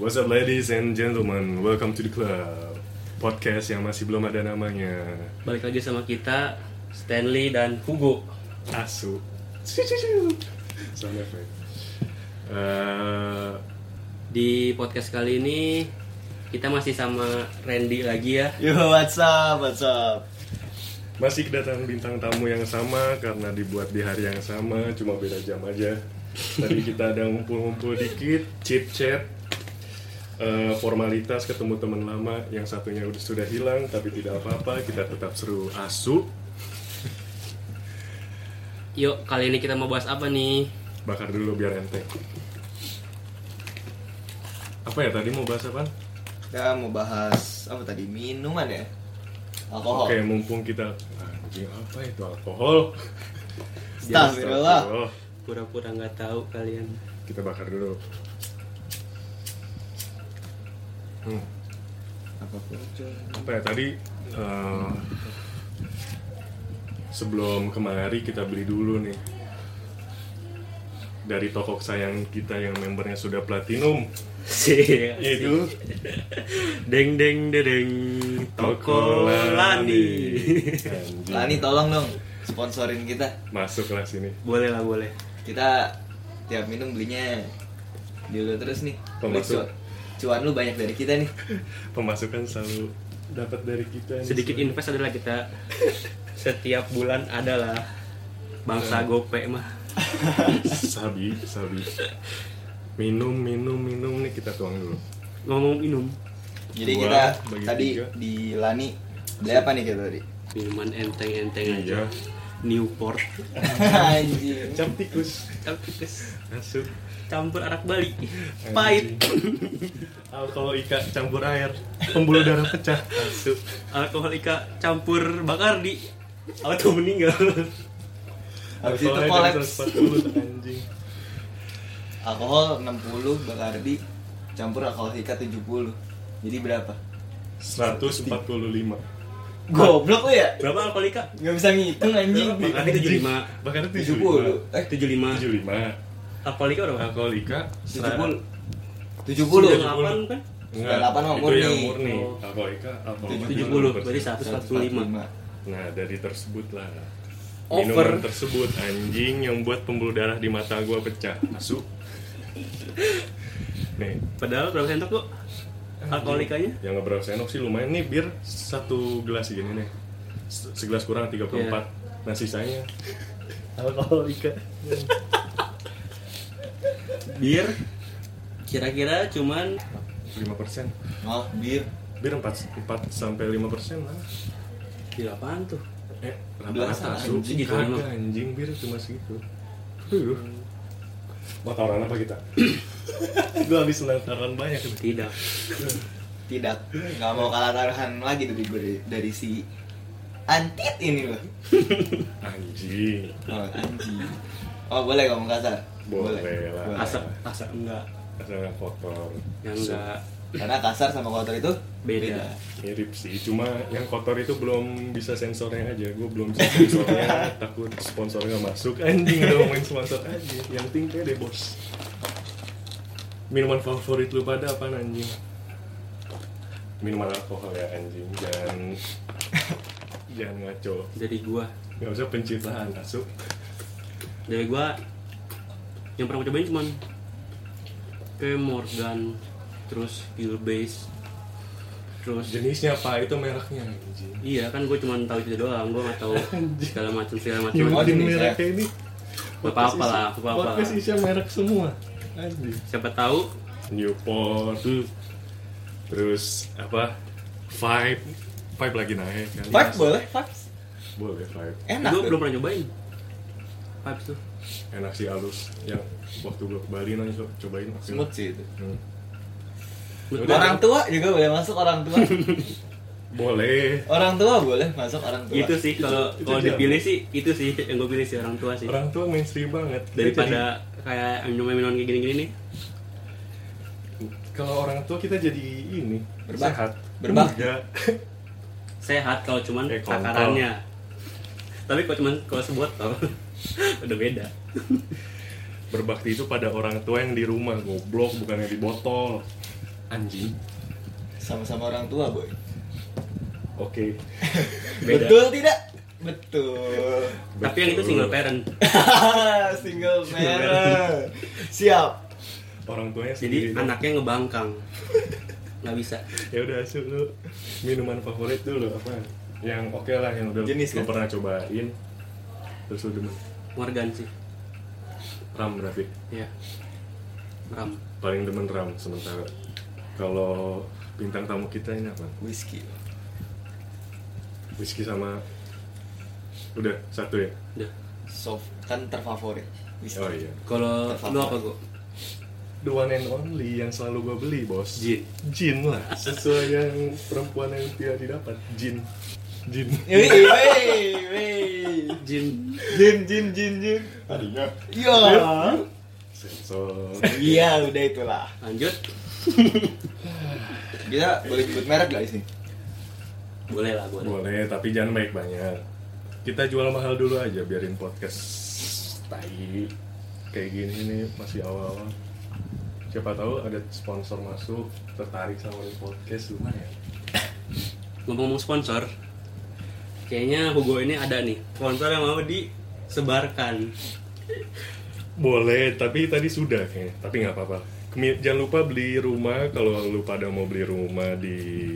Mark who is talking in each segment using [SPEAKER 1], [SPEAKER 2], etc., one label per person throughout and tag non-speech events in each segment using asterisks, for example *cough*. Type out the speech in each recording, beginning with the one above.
[SPEAKER 1] What's up ladies and gentlemen, welcome to the club Podcast yang masih belum ada namanya
[SPEAKER 2] Balik lagi sama kita Stanley dan Hugo.
[SPEAKER 1] Asu Sound effect Eh,
[SPEAKER 2] Di podcast kali ini kita masih sama Randy lagi ya.
[SPEAKER 3] Yo, what's up, what's up?
[SPEAKER 1] Masih kedatangan bintang tamu yang sama karena dibuat di hari yang sama, cuma beda jam aja Tadi kita ada ngumpul-ngumpul dikit, chit chat eh, formalitas ketemu teman lama yang satunya udah sudah hilang tapi tidak apa-apa kita tetap seru asu
[SPEAKER 2] Yuk, kali ini kita mau bahas apa nih?
[SPEAKER 1] bakar dulu biar enteng apa ya tadi mau bahas apa?
[SPEAKER 3] Kita mau bahas apa tadi? Minuman ya? Alkohol.
[SPEAKER 1] Oke, mumpung kita anjing apa itu alkohol?
[SPEAKER 3] Iya, Astagfirullah.
[SPEAKER 1] Astagfirullah.
[SPEAKER 2] Pura-pura nggak tahu kalian. *laughs*
[SPEAKER 1] Kita bakar dulu. Hmm,
[SPEAKER 3] Apa pun.
[SPEAKER 1] apa ya tadi eh, sebelum kemari kita beli dulu nih dari toko sayang kita yang membernya sudah platinum
[SPEAKER 2] Sih,
[SPEAKER 1] yaitu
[SPEAKER 2] deng deng dedeng toko Lani.
[SPEAKER 1] Anjing.
[SPEAKER 3] Lani Nah, tolong dong sponsorin kita.
[SPEAKER 1] Masuklah sini.
[SPEAKER 2] Boleh lah boleh.
[SPEAKER 3] Kita tiap minum belinya dulu terus nih.
[SPEAKER 1] Pemasuk.
[SPEAKER 3] Cuan- Cuan lu banyak dari kita nih.
[SPEAKER 1] Pemasukan selalu dapat dari kita. nih.
[SPEAKER 2] Sedikit invest adalah kita setiap bulan adalah bangsa gope mah.
[SPEAKER 1] sabi sabi minum minum minum nih kita tuang dulu
[SPEAKER 2] Ngomong minum,
[SPEAKER 3] Jadi
[SPEAKER 1] Dua,
[SPEAKER 3] kita
[SPEAKER 1] bagi
[SPEAKER 3] tadi
[SPEAKER 1] tiga.
[SPEAKER 3] di Lani beli apa nih kita
[SPEAKER 1] *laughs*
[SPEAKER 3] tadi?
[SPEAKER 2] minuman enteng-enteng aja.
[SPEAKER 1] Iya.
[SPEAKER 2] Newport.
[SPEAKER 3] Anjing.
[SPEAKER 1] cap tikus
[SPEAKER 2] Tapi kes-
[SPEAKER 1] masuk
[SPEAKER 2] campur arak Bali pahit
[SPEAKER 1] alkohol ika campur air pembuluh darah pecah masuk
[SPEAKER 2] alkohol ika campur bakardi auto meninggal
[SPEAKER 3] Habis itu
[SPEAKER 1] Alkoholnya dari
[SPEAKER 3] kolaps.
[SPEAKER 1] 140, anjing
[SPEAKER 3] Alkohol 60, Bacardi campur alkohol hika 70. Jadi berapa?
[SPEAKER 1] 145
[SPEAKER 3] Goblok lu ya?
[SPEAKER 2] berapa alkohol ika
[SPEAKER 3] Gak bisa ngitung anjing.
[SPEAKER 2] Bakardi 75
[SPEAKER 1] bahkan
[SPEAKER 3] 70.
[SPEAKER 1] 75
[SPEAKER 3] Eh,
[SPEAKER 2] 75
[SPEAKER 1] 75
[SPEAKER 2] alkohol ika berapa
[SPEAKER 1] alkohol ika
[SPEAKER 3] 70.
[SPEAKER 2] 78
[SPEAKER 3] 70.
[SPEAKER 2] kan
[SPEAKER 1] enggak
[SPEAKER 3] 98 mah
[SPEAKER 1] itu yang
[SPEAKER 3] murni.
[SPEAKER 1] murni alkohol ika alkohol
[SPEAKER 2] 70 berarti 145
[SPEAKER 3] 145.
[SPEAKER 1] Nah dari tersebut lah
[SPEAKER 2] Over.
[SPEAKER 1] Minuman tersebut anjing yang buat pembuluh darah di mata gua pecah *laughs* Masuk Nih
[SPEAKER 2] padahal berapa sendok kok alkohol ikanya
[SPEAKER 1] yang nggak berapa sendok sih lumayan nih bir satu gelas gini nih Se- Segelas kurang 34
[SPEAKER 2] Iya.
[SPEAKER 1] Nah sisanya Alkohol Ika
[SPEAKER 2] bir kira-kira cuman
[SPEAKER 1] 5 persen
[SPEAKER 3] Oh, bir.
[SPEAKER 1] Bir 4, 4 sampai 5 persen lah
[SPEAKER 2] gila apaan tuh
[SPEAKER 1] Eh
[SPEAKER 3] Belasan,
[SPEAKER 1] rata-rata Asu.
[SPEAKER 2] anjing.
[SPEAKER 1] Kagak, anjing bir cuma segitu gitu kan Huh. Mataran apa kita? *coughs* gua habis mataran banyak nih.
[SPEAKER 2] tidak
[SPEAKER 3] Tidak. Gak mau kalah taruhan lagi dari gue dari si Antit ini loh.
[SPEAKER 1] Anjing
[SPEAKER 3] Oh, anjing. Oh, boleh ngomong kasar.
[SPEAKER 1] Boleh lah.
[SPEAKER 2] asap asap enggak
[SPEAKER 1] rasanya kotor
[SPEAKER 2] yang enggak
[SPEAKER 3] Karena kasar sama kotor itu
[SPEAKER 2] Beda.
[SPEAKER 1] mirip sih cuma yang kotor itu belum bisa sensornya aja gue belum bisa sensornya
[SPEAKER 2] *laughs*
[SPEAKER 1] takut sponsor nggak masuk anjing udah ngomongin sponsor aja yang penting pede bos minuman favorit lu pada apa anjing minuman alkohol ya anjing
[SPEAKER 2] *laughs*
[SPEAKER 1] jangan jangan ngaco
[SPEAKER 2] dari gua
[SPEAKER 1] nggak usah pencitraan masuk
[SPEAKER 2] dari gua yang pernah gua cobain cuman kayak Morgan terus Bill Base terus
[SPEAKER 1] jenisnya apa itu mereknya anjing
[SPEAKER 2] iya kan gua cuman tahu itu doang gua nggak tahu
[SPEAKER 1] *laughs*
[SPEAKER 2] segala macam segala macam
[SPEAKER 3] Gimana?
[SPEAKER 1] Nyebutin
[SPEAKER 3] jenisnya.
[SPEAKER 1] mereknya ini
[SPEAKER 2] Gak ya. apa-apa lah, gak apa-apa.
[SPEAKER 1] podcast isinya merek semua anjing
[SPEAKER 2] siapa tahu
[SPEAKER 1] Newport terus apa vibe vibe lagi naik kan
[SPEAKER 3] Vibe boleh, vibes.
[SPEAKER 1] boleh vibe
[SPEAKER 3] Enak.
[SPEAKER 2] gua
[SPEAKER 3] tuh.
[SPEAKER 2] belum pernah nyobain vibes tuh
[SPEAKER 1] enak sih halus yang waktu gue ke Bali nanya "Sob, cobain Oke.
[SPEAKER 3] Smooth sih itu.
[SPEAKER 1] Hmm.
[SPEAKER 2] Menurut
[SPEAKER 1] Udah.
[SPEAKER 3] Orang tua juga boleh masuk orang
[SPEAKER 2] *laughs*
[SPEAKER 3] tua.
[SPEAKER 1] boleh
[SPEAKER 3] orang tua boleh masuk orang
[SPEAKER 2] gua,
[SPEAKER 3] tua.
[SPEAKER 2] itu sih kalau
[SPEAKER 1] itu
[SPEAKER 2] kalau
[SPEAKER 1] jarang.
[SPEAKER 2] dipilih sih itu sih yang gua pilih sih orang tua sih
[SPEAKER 1] orang tua mainstream banget Dia
[SPEAKER 2] daripada kayak minuman minuman kayak gini-gini nih
[SPEAKER 1] jadi- kalau orang tua kita jadi ini
[SPEAKER 3] Berbak-
[SPEAKER 1] sehat Iya.
[SPEAKER 3] berbakti.
[SPEAKER 1] Enggak.
[SPEAKER 2] sehat kalau cuman
[SPEAKER 1] Eh, kontol.
[SPEAKER 2] takarannya tapi kalau cuman kalau sebotol *laughs* udah beda
[SPEAKER 1] berbakti itu pada orang tua yang di rumah goblok bukannya di botol
[SPEAKER 2] anjing
[SPEAKER 3] Sama-sama orang tua, boy.
[SPEAKER 1] Oke.
[SPEAKER 2] Beda.
[SPEAKER 3] Betul tidak? Betul.
[SPEAKER 2] tapi yang itu single parent
[SPEAKER 3] *laughs* Single parent. Siap.
[SPEAKER 1] Orang tuanya
[SPEAKER 2] jadi
[SPEAKER 1] sendiri.
[SPEAKER 2] anaknya ngebangkang nggak bisa
[SPEAKER 1] Ya udah asuh lu minuman favorit dulu apa? Yang oke lah yang udah
[SPEAKER 3] Jenis
[SPEAKER 1] lu
[SPEAKER 3] kan?
[SPEAKER 1] pernah cobain. Terus lu demen
[SPEAKER 2] Morgan sih
[SPEAKER 1] ram berarti.
[SPEAKER 2] ya ram
[SPEAKER 1] Paling demen ram sementara. Kalau bintang tamu kita ini apa?
[SPEAKER 3] Whisky.
[SPEAKER 1] Whisky sama udah satu ya.
[SPEAKER 2] udah
[SPEAKER 3] Soft kan terfavorit. Whisky.
[SPEAKER 1] Oh iya.
[SPEAKER 2] kalau lu apa gua
[SPEAKER 1] The one and only yang selalu gue beli bos
[SPEAKER 2] Jin.
[SPEAKER 1] Jin lah Sesuai yang perempuan yang tidak didapat Jin Jin
[SPEAKER 3] Wih, wih, wih.
[SPEAKER 2] Jin
[SPEAKER 3] Jin, jin, jin, jin.
[SPEAKER 1] Tadinya
[SPEAKER 3] Iya.
[SPEAKER 1] Sensor
[SPEAKER 3] Iya, udah itulah.
[SPEAKER 2] lanjut
[SPEAKER 3] Kita boleh sebut merek gak sih?
[SPEAKER 2] boleh lah boleh
[SPEAKER 1] Boleh tapi jangan banyak-banyak Kita jual mahal dulu aja biarin podcast Tai Kayak gini nih masih awal-awal Siapa tahu ada sponsor masuk Tertarik sama ini podcast ya? lumayan
[SPEAKER 2] ngomong-ngomong sponsor kayaknya Hugo ini ada nih sponsor yang mau disebarkan
[SPEAKER 1] Boleh, tapi tadi sudah kayaknya. Tapi nggak apa-apa. Kemi- Jangan lupa beli rumah kalau lu pada mau beli rumah di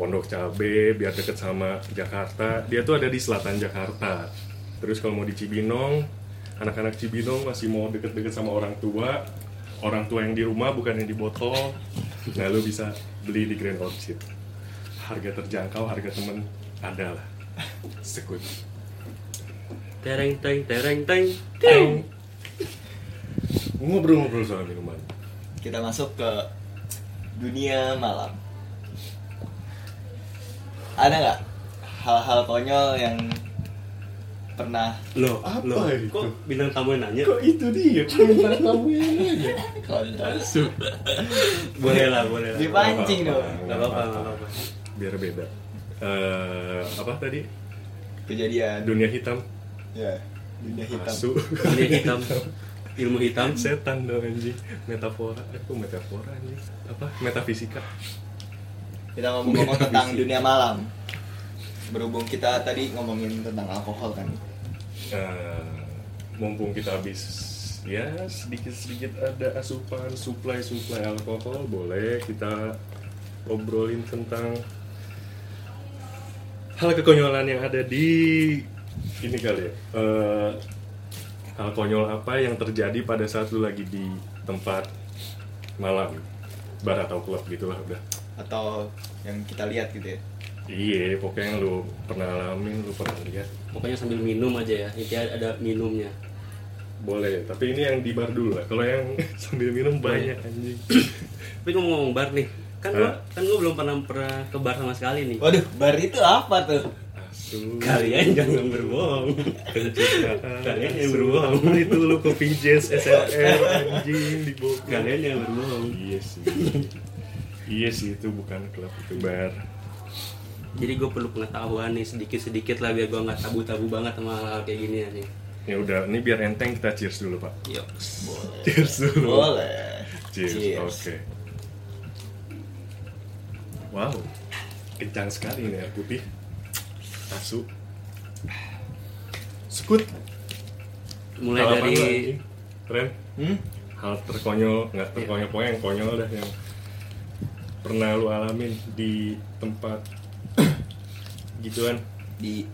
[SPEAKER 1] Pondok Cabe biar deket sama Jakarta. Dia tuh ada di selatan Jakarta. Terus kalau mau di Cibinong, anak-anak Cibinong masih mau deket-deket sama orang tua. Orang tua yang di rumah bukan yang di botol. Nah, lu bisa beli di Grand Orchid. Harga terjangkau, harga temen ada lah. Sekut.
[SPEAKER 2] tereng tereng tereng tereng
[SPEAKER 1] Teng. Ngobrol-ngobrol soal minuman.
[SPEAKER 3] Kita masuk ke dunia malam. Ada nggak hal-hal konyol yang pernah
[SPEAKER 2] lo
[SPEAKER 1] Apa
[SPEAKER 2] lo
[SPEAKER 1] itu?
[SPEAKER 2] kok bintang tamu yang nanya
[SPEAKER 1] Kok itu
[SPEAKER 2] *laughs*
[SPEAKER 1] dia permintaan kamu yang nanya?
[SPEAKER 3] kalian
[SPEAKER 2] boleh lah boleh lah
[SPEAKER 3] dipancing dong
[SPEAKER 2] nggak apa-apa nggak apa-apa
[SPEAKER 1] Biar beda. Eh, apa tadi?
[SPEAKER 3] kejadian
[SPEAKER 1] Dunia hitam.
[SPEAKER 3] ya dunia hitam
[SPEAKER 1] Asu. *laughs*
[SPEAKER 2] dunia hitam ilmu hitam
[SPEAKER 1] Setan dong anjing. Metafora. Eh, kok metafora anjing? Apa? Metafisika.
[SPEAKER 3] kita ngomong-ngomong
[SPEAKER 1] Iya,
[SPEAKER 3] tentang dunia malam berhubung kita tadi ngomongin tentang alkohol kan
[SPEAKER 1] Eh, mumpung kita habis ya sedikit-sedikit ada asupan suplai-suplai alkohol boleh kita obrolin tentang hal kekonyolan yang ada di ini kali ya eh, hal konyol apa yang terjadi pada saat lu lagi di tempat malam bar atau klub gitulah udah
[SPEAKER 3] atau yang kita lihat gitu ya
[SPEAKER 1] iya pokoknya yang lu pernah alamin lu pernah lihat
[SPEAKER 2] pokoknya sambil minum aja ya intinya ada minumnya
[SPEAKER 1] Boleh, tapi ini yang di bar dulu lah. Kalau yang *laughs* sambil minum banyak anjing.
[SPEAKER 2] tapi ngomong-ngomong bar nih kan gua kan gua belum pernah pernah ke bar sama sekali nih
[SPEAKER 3] waduh bar itu apa tuh
[SPEAKER 1] Asu.
[SPEAKER 2] Oh, kalian jangan *laughs* berbohong kalian yang berbohong
[SPEAKER 1] Apa itu lu kopi jazz SLR anjing di Bogor.
[SPEAKER 2] kalian yang berbohong
[SPEAKER 1] Iya sih. Iya sih itu bukan klub itu bar.
[SPEAKER 2] jadi gue perlu pengetahuan nih sedikit-sedikit lah biar gue nggak tabu-tabu banget sama hal kayak gini nih
[SPEAKER 1] Ya udah, ini biar enteng kita cheers dulu, Pak.
[SPEAKER 2] yuk
[SPEAKER 1] Cheers dulu.
[SPEAKER 3] boleh
[SPEAKER 1] Cheers. Oke. Wow. Kencang sekali ini air putih. Asu. Sekut.
[SPEAKER 2] mulai
[SPEAKER 1] Hal apa
[SPEAKER 2] dari
[SPEAKER 1] lu, anjing? Ren,
[SPEAKER 3] hmm?
[SPEAKER 1] hal terkonyol nggak
[SPEAKER 2] Iya.
[SPEAKER 1] terkonyol pokoknya yang konyol dah yang pernah lu alamin di tempat *coughs* gituan
[SPEAKER 3] di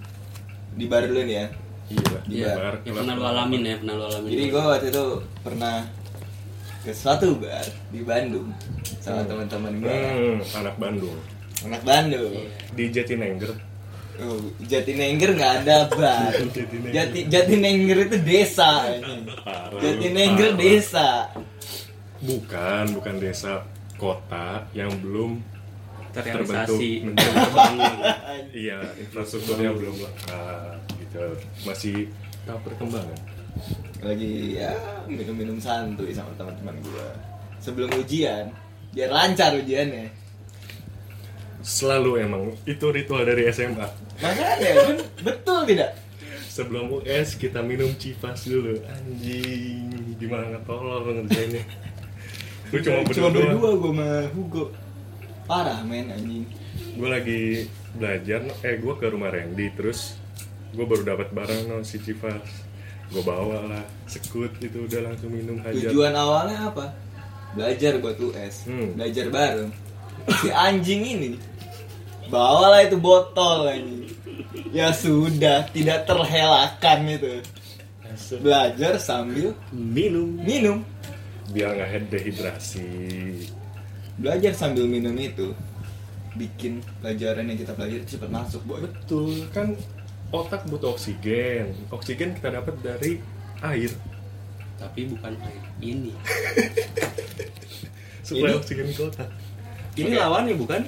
[SPEAKER 3] di bar dulu nih ya
[SPEAKER 1] iya di
[SPEAKER 2] ya,
[SPEAKER 1] bar
[SPEAKER 2] yang
[SPEAKER 1] klub.
[SPEAKER 2] pernah lu alamin ya pernah lu alamin
[SPEAKER 3] jadi gue waktu itu pernah ke suatu bar di Bandung sama teman-teman gue
[SPEAKER 1] hmm, anak Bandung
[SPEAKER 3] anak Bandung
[SPEAKER 1] di Jatinegger
[SPEAKER 3] Oh, Jatinegger nggak ada
[SPEAKER 1] *laughs*
[SPEAKER 3] bar.
[SPEAKER 1] Jatinegger.
[SPEAKER 3] Jati Jatinegger itu desa.
[SPEAKER 1] Parah, parah.
[SPEAKER 3] Jatinegger desa.
[SPEAKER 1] bukan bukan desa kota yang belum
[SPEAKER 2] *laughs* terrealisasi
[SPEAKER 1] terbentuk menjadi iya infrastrukturnya belum lengkap gitu masih tahap perkembangan
[SPEAKER 3] Lagi ya minum-minum santuy sama teman-teman gue. Sebelum ujian, biar lancar ujiannya.
[SPEAKER 1] selalu emang itu ritual dari SMA *laughs*
[SPEAKER 3] Makanya kan betul tidak?
[SPEAKER 1] Sebelum US kita minum Civas dulu Anjing, gimana tolol lu ngerjainnya Gue cuma berdua.
[SPEAKER 3] Cuma berdua gue sama Hugo. Parah men anjing.
[SPEAKER 1] Gue lagi belajar, eh gue ke rumah Randy terus gue baru dapat barang no si Civas. Gue bawa lah sekut itu udah langsung minum hajar.
[SPEAKER 3] Tujuan awalnya apa? Belajar buat US.
[SPEAKER 1] Hmm.
[SPEAKER 3] Belajar bareng. Si anjing ini bawalah itu botol anjing. Ya sudah, tidak terhelakan itu. Belajar sambil
[SPEAKER 2] minum
[SPEAKER 3] minum.
[SPEAKER 1] Biar nggak head dehidrasi.
[SPEAKER 3] Belajar sambil minum itu bikin pelajaran yang kita pelajari itu cepat masuk, boy.
[SPEAKER 1] Betul kan otak butuh oksigen. Oksigen kita dapat dari air.
[SPEAKER 2] tapi bukan air ini
[SPEAKER 1] Supaya
[SPEAKER 3] Ini-
[SPEAKER 1] oksigen ke otak.
[SPEAKER 2] ini
[SPEAKER 1] Oke.
[SPEAKER 2] lawannya bukan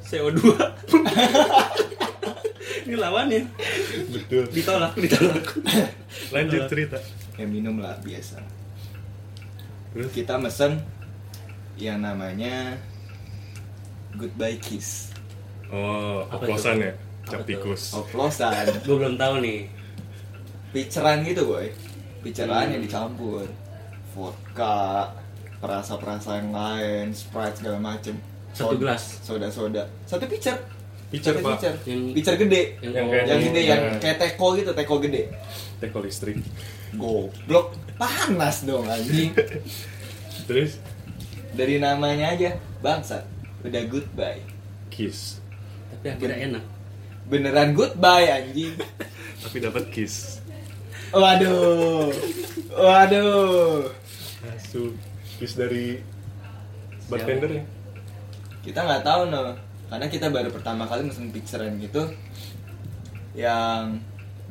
[SPEAKER 2] CO2 *laughs* ini *laughs* lawannya
[SPEAKER 1] Betul.
[SPEAKER 2] ditolak ditolak
[SPEAKER 1] Lanjut cerita.
[SPEAKER 3] Ya minum lah biasa.
[SPEAKER 1] Terus
[SPEAKER 3] Kita mesen yang namanya goodbye kiss.
[SPEAKER 1] oh,
[SPEAKER 2] Apa
[SPEAKER 1] oplosan
[SPEAKER 2] itu?
[SPEAKER 1] ya, cap
[SPEAKER 2] Apa tuh?
[SPEAKER 3] Oh,
[SPEAKER 1] tikus.
[SPEAKER 3] Oplosan.
[SPEAKER 2] gue belum tahu nih
[SPEAKER 3] piceran gitu boy piceran
[SPEAKER 2] Hmm.
[SPEAKER 3] yang dicampur vodka perasa-perasa yang lain sprite segala macem
[SPEAKER 2] Satu
[SPEAKER 3] Sod-
[SPEAKER 2] gelas?
[SPEAKER 3] soda-soda satu picer
[SPEAKER 1] Picer,
[SPEAKER 3] Satu
[SPEAKER 1] Pak.
[SPEAKER 3] picer
[SPEAKER 2] Yang-
[SPEAKER 3] picer gede
[SPEAKER 2] yang,
[SPEAKER 1] Yang
[SPEAKER 2] oh,
[SPEAKER 1] kayak-
[SPEAKER 3] yang gede
[SPEAKER 1] Iya.
[SPEAKER 3] yang kayak teko gitu teko gede
[SPEAKER 1] Teko listrik.
[SPEAKER 3] goblok panas dong anjing
[SPEAKER 1] Terus
[SPEAKER 3] dari namanya aja bangsat udah goodbye
[SPEAKER 1] kiss.
[SPEAKER 2] tapi akhirnya enak
[SPEAKER 3] beneran goodbye anjing
[SPEAKER 1] Tapi dapat kiss.
[SPEAKER 3] waduh waduh
[SPEAKER 1] Asu. Kiss dari bartender ya?
[SPEAKER 3] kita nggak tahu no karena kita baru pertama kali mesen picturean gitu yang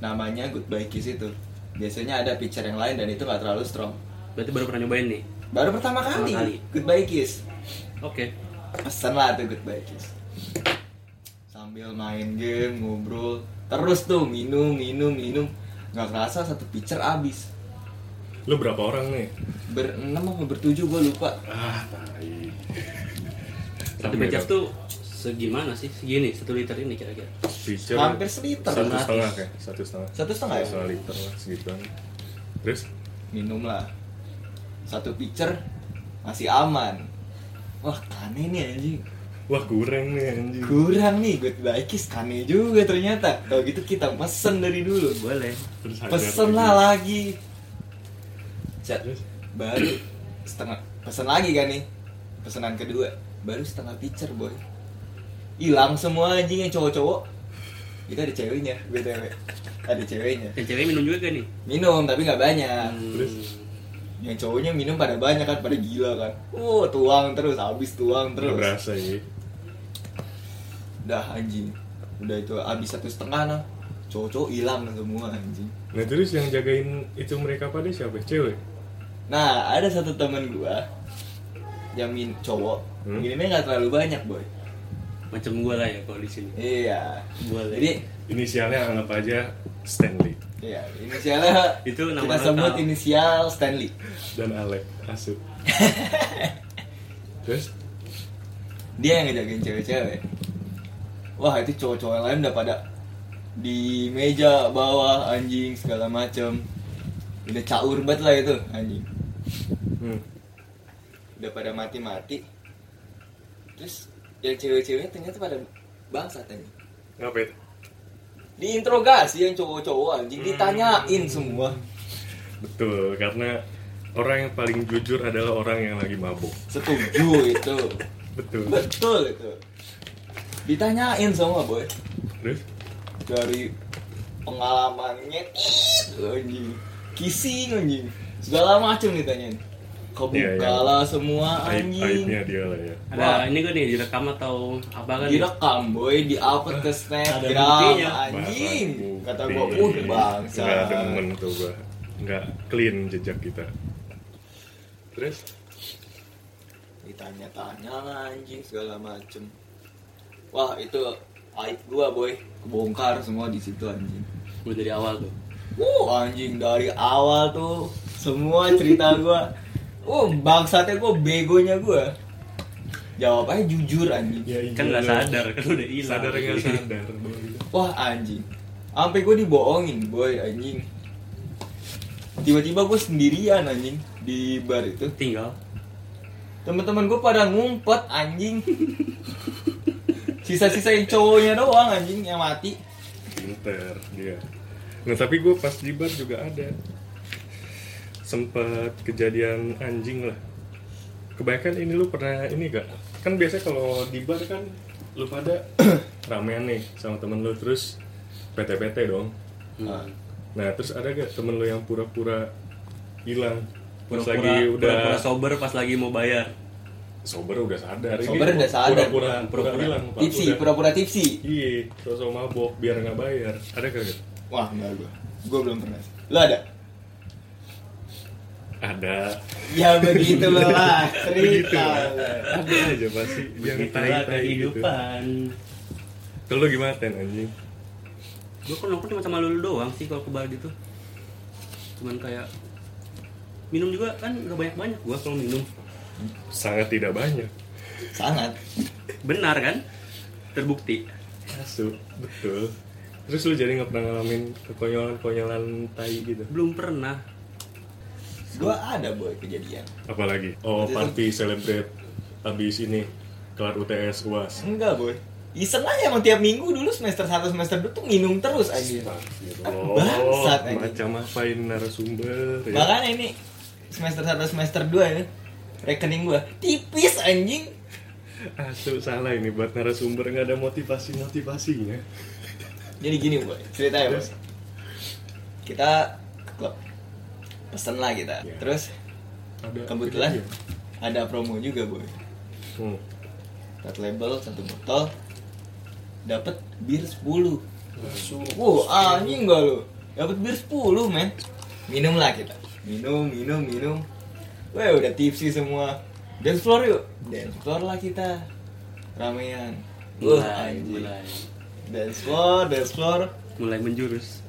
[SPEAKER 3] namanya goodbye kiss itu biasanya ada picture yang lain dan itu nggak terlalu strong
[SPEAKER 2] berarti baru pernah nyobain nih
[SPEAKER 3] baru pertama
[SPEAKER 2] Pertama
[SPEAKER 3] kali,
[SPEAKER 2] kali.
[SPEAKER 3] goodbye kiss
[SPEAKER 2] oke
[SPEAKER 3] pesen lah tuh goodbye kiss sambil main game ngobrol terus tuh minum minum minum nggak kerasa satu picture abis
[SPEAKER 1] Lu berapa orang nih?
[SPEAKER 3] berenam apa bertujuh gue lupa
[SPEAKER 1] Ah, tai.
[SPEAKER 2] satu
[SPEAKER 1] Rame
[SPEAKER 2] becak
[SPEAKER 1] dong.
[SPEAKER 2] tuh segimana sih segini satu liter ini kira-kira
[SPEAKER 1] Pitcher
[SPEAKER 3] hampir seliter
[SPEAKER 1] satu
[SPEAKER 3] lah.
[SPEAKER 1] setengah kayak satu setengah.
[SPEAKER 3] Satu setengah ya?
[SPEAKER 1] Satu liter lah segituan. Terus
[SPEAKER 3] minum lah satu pitcher masih aman wah kane nih anjing
[SPEAKER 1] wah goreng nih anjing.
[SPEAKER 3] kurang nih good kiss kane juga ternyata kalau gitu kita pesen dari dulu
[SPEAKER 2] boleh
[SPEAKER 1] Terus hajar
[SPEAKER 3] pesen
[SPEAKER 1] lagi.
[SPEAKER 3] lah lagi Cet,
[SPEAKER 1] Terus?
[SPEAKER 3] baru setengah pesen lagi kan nih pesanan kedua baru setengah pitcher boy hilang semua anjing yang cowok-cowok itu ada ceweknya btw ada ceweknya
[SPEAKER 2] dan cewek minum juga gak nih
[SPEAKER 3] minum tapi nggak banyak
[SPEAKER 1] Terus?
[SPEAKER 3] yang cowoknya minum pada banyak kan pada gila kan oh tuang terus habis tuang
[SPEAKER 1] Nggak
[SPEAKER 3] terus
[SPEAKER 1] berasa ya.
[SPEAKER 3] udah anjing udah itu habis satu setengah nah cowok-cowok hilang semua anjing
[SPEAKER 1] Nah terus yang jagain itu mereka pada siapa? Cewek?
[SPEAKER 3] nah ada satu temen gua yang min cowok
[SPEAKER 1] Hmm?
[SPEAKER 3] minumnya nggak terlalu banyak boy
[SPEAKER 2] macam gue lah ya kalau di sini
[SPEAKER 3] iya
[SPEAKER 2] Boleh.
[SPEAKER 3] jadi
[SPEAKER 1] Inisialnya anggap aja Stanley
[SPEAKER 3] iya inisialnya
[SPEAKER 2] Itu nama
[SPEAKER 3] kita sebut
[SPEAKER 2] lengkap.
[SPEAKER 3] inisial Stanley
[SPEAKER 1] dan Alek
[SPEAKER 3] *laughs*
[SPEAKER 1] Asu. terus
[SPEAKER 3] dia yang ngejagain cewek-cewek wah itu cowok-cowok yang lain udah pada di meja bawah anjing segala macem udah caur banget lah itu anjing
[SPEAKER 1] hmm,
[SPEAKER 3] udah pada mati-mati terus yang cewek-ceweknya ternyata pada bangsa anjing
[SPEAKER 1] ngapain?
[SPEAKER 3] diinterogasi yang cowok-cowok anjing
[SPEAKER 1] Hmm.
[SPEAKER 3] ditanyain semua
[SPEAKER 1] Betul karena orang yang paling jujur adalah orang yang lagi mabuk.
[SPEAKER 3] setuju itu
[SPEAKER 1] Betul.
[SPEAKER 3] betul itu ditanyain semua boy
[SPEAKER 1] Terus
[SPEAKER 3] dari pengalamannya tit, anjing kissing anjing segala macem ditanyain kebuka
[SPEAKER 1] Iya, iya.
[SPEAKER 3] lah semua
[SPEAKER 1] aib
[SPEAKER 3] anjing
[SPEAKER 1] aibnya dia lah ya.
[SPEAKER 2] ada ini gue nih direkam atau apa kan nih?
[SPEAKER 3] direkam boy di upload ke snapgram
[SPEAKER 2] buktinya.
[SPEAKER 3] anjing
[SPEAKER 1] Barang
[SPEAKER 3] kata
[SPEAKER 1] bukti.
[SPEAKER 3] gua uh bangsa
[SPEAKER 1] Nggak demen tuh gua. Nggak clean jejak kita. Terus
[SPEAKER 3] ditanya-tanya lah anjing segala macem wah itu aib gua boy kebongkar semua di situ anjing
[SPEAKER 2] gue dari awal tuh
[SPEAKER 3] Uh, anjing dari awal tuh semua cerita gua. Uh, bangsatnya gua begonya gua. Jawabannya jujur anjing.
[SPEAKER 1] ya iya,
[SPEAKER 2] kan nggak
[SPEAKER 1] lu-
[SPEAKER 2] sadar kan udah hilang
[SPEAKER 1] Sadar
[SPEAKER 2] *laughs*
[SPEAKER 1] nggak sadar. boy.
[SPEAKER 3] Wah, anjing. Sampai gua dibohongin, boy, anjing. Tiba-tiba gua sendirian anjing di bar itu.
[SPEAKER 2] tinggal
[SPEAKER 3] Temen-temen gue pada ngumpet anjing. Sisa-sisa yang cowoknya doang anjing yang mati.
[SPEAKER 1] Pinter dia. Nah tapi gue pas di bar juga ada. Sempet kejadian anjing lah. Kebanyakan ini lu pernah ini gak? Kan biasanya kalau di bar kan lu pada ramean nih sama temen lu terus PT-PT dong.
[SPEAKER 3] Ah.
[SPEAKER 1] Nah terus ada gak temen lu yang pura-pura hilang? Pas
[SPEAKER 2] Pura-pura-
[SPEAKER 1] lagi udah
[SPEAKER 2] pura-pura sober pas lagi mau bayar.
[SPEAKER 1] sober udah sadar ini
[SPEAKER 3] Sober udah sadar.
[SPEAKER 1] pura-pura pura
[SPEAKER 2] Pura-pura.
[SPEAKER 1] hilang Pak.
[SPEAKER 3] Tipsi,
[SPEAKER 1] Udah.
[SPEAKER 3] pura-pura tipsi.
[SPEAKER 1] Iya, sosok mabok biar nggak bayar. Ada kagak?
[SPEAKER 3] Wah, enggak gue. Gue belum pernah. Lo ada?
[SPEAKER 1] Ada.
[SPEAKER 3] Ya begitu lo lah,
[SPEAKER 1] Begitu.
[SPEAKER 3] cerita.
[SPEAKER 1] Ada aja pasti yang tai-tai
[SPEAKER 2] Begitulah
[SPEAKER 1] gitu.
[SPEAKER 2] kehidupan.
[SPEAKER 1] Kalau lu gimana Ten anjing?
[SPEAKER 2] Gue kan nongkrong cuma sama lulu doang sih kalau ke bar gitu. Cuman kayak minum juga kan gak banyak banyak gue kalau minum.
[SPEAKER 1] Sangat tidak banyak.
[SPEAKER 3] Sangat.
[SPEAKER 2] Benar kan? Terbukti.
[SPEAKER 1] Masuk, betul. Terus lu jadi nggak pernah ngalamin kekonyolan-konyolan tai gitu?
[SPEAKER 2] Belum pernah.
[SPEAKER 3] Gue ada boy kejadian.
[SPEAKER 1] Apalagi? Oh, party celebrate abis ini kelar UTS
[SPEAKER 3] *laughs*
[SPEAKER 1] UAS.
[SPEAKER 3] Enggak boy. Iseng aja emang tiap minggu dulu semester 1 semester 2 tuh minum terus anjing.
[SPEAKER 1] Oh,
[SPEAKER 3] Bangsat, anjing.
[SPEAKER 1] macam apain narasumber ya?
[SPEAKER 3] Makanya ini semester 1 semester 2 ini rekening gua tipis anjing.
[SPEAKER 1] Asu salah ini buat narasumber nggak ada motivasi motivasinya.
[SPEAKER 3] Jadi gini boy, ceritanya boy.
[SPEAKER 1] Terus?
[SPEAKER 3] Kita ke klub. Pesen lah kita.
[SPEAKER 1] Ya.
[SPEAKER 3] Terus
[SPEAKER 1] Ada
[SPEAKER 3] kebetulan
[SPEAKER 1] kejadian.
[SPEAKER 3] ada promo juga boy.
[SPEAKER 1] Hmm.
[SPEAKER 3] Red label satu botol dapat bir 10.
[SPEAKER 1] Asu.
[SPEAKER 3] Wow, anjing gak lu? Dapat bir 10, men. Minum lah kita. Minum, minum, minum. Weh, udah tipsy semua. Dance floor yuk. Dance floor lah kita. Ramean. Wah,
[SPEAKER 2] Mulai,
[SPEAKER 3] anjing.
[SPEAKER 2] mulai,
[SPEAKER 3] Dance floor, dance floor.
[SPEAKER 2] mulai menjurus.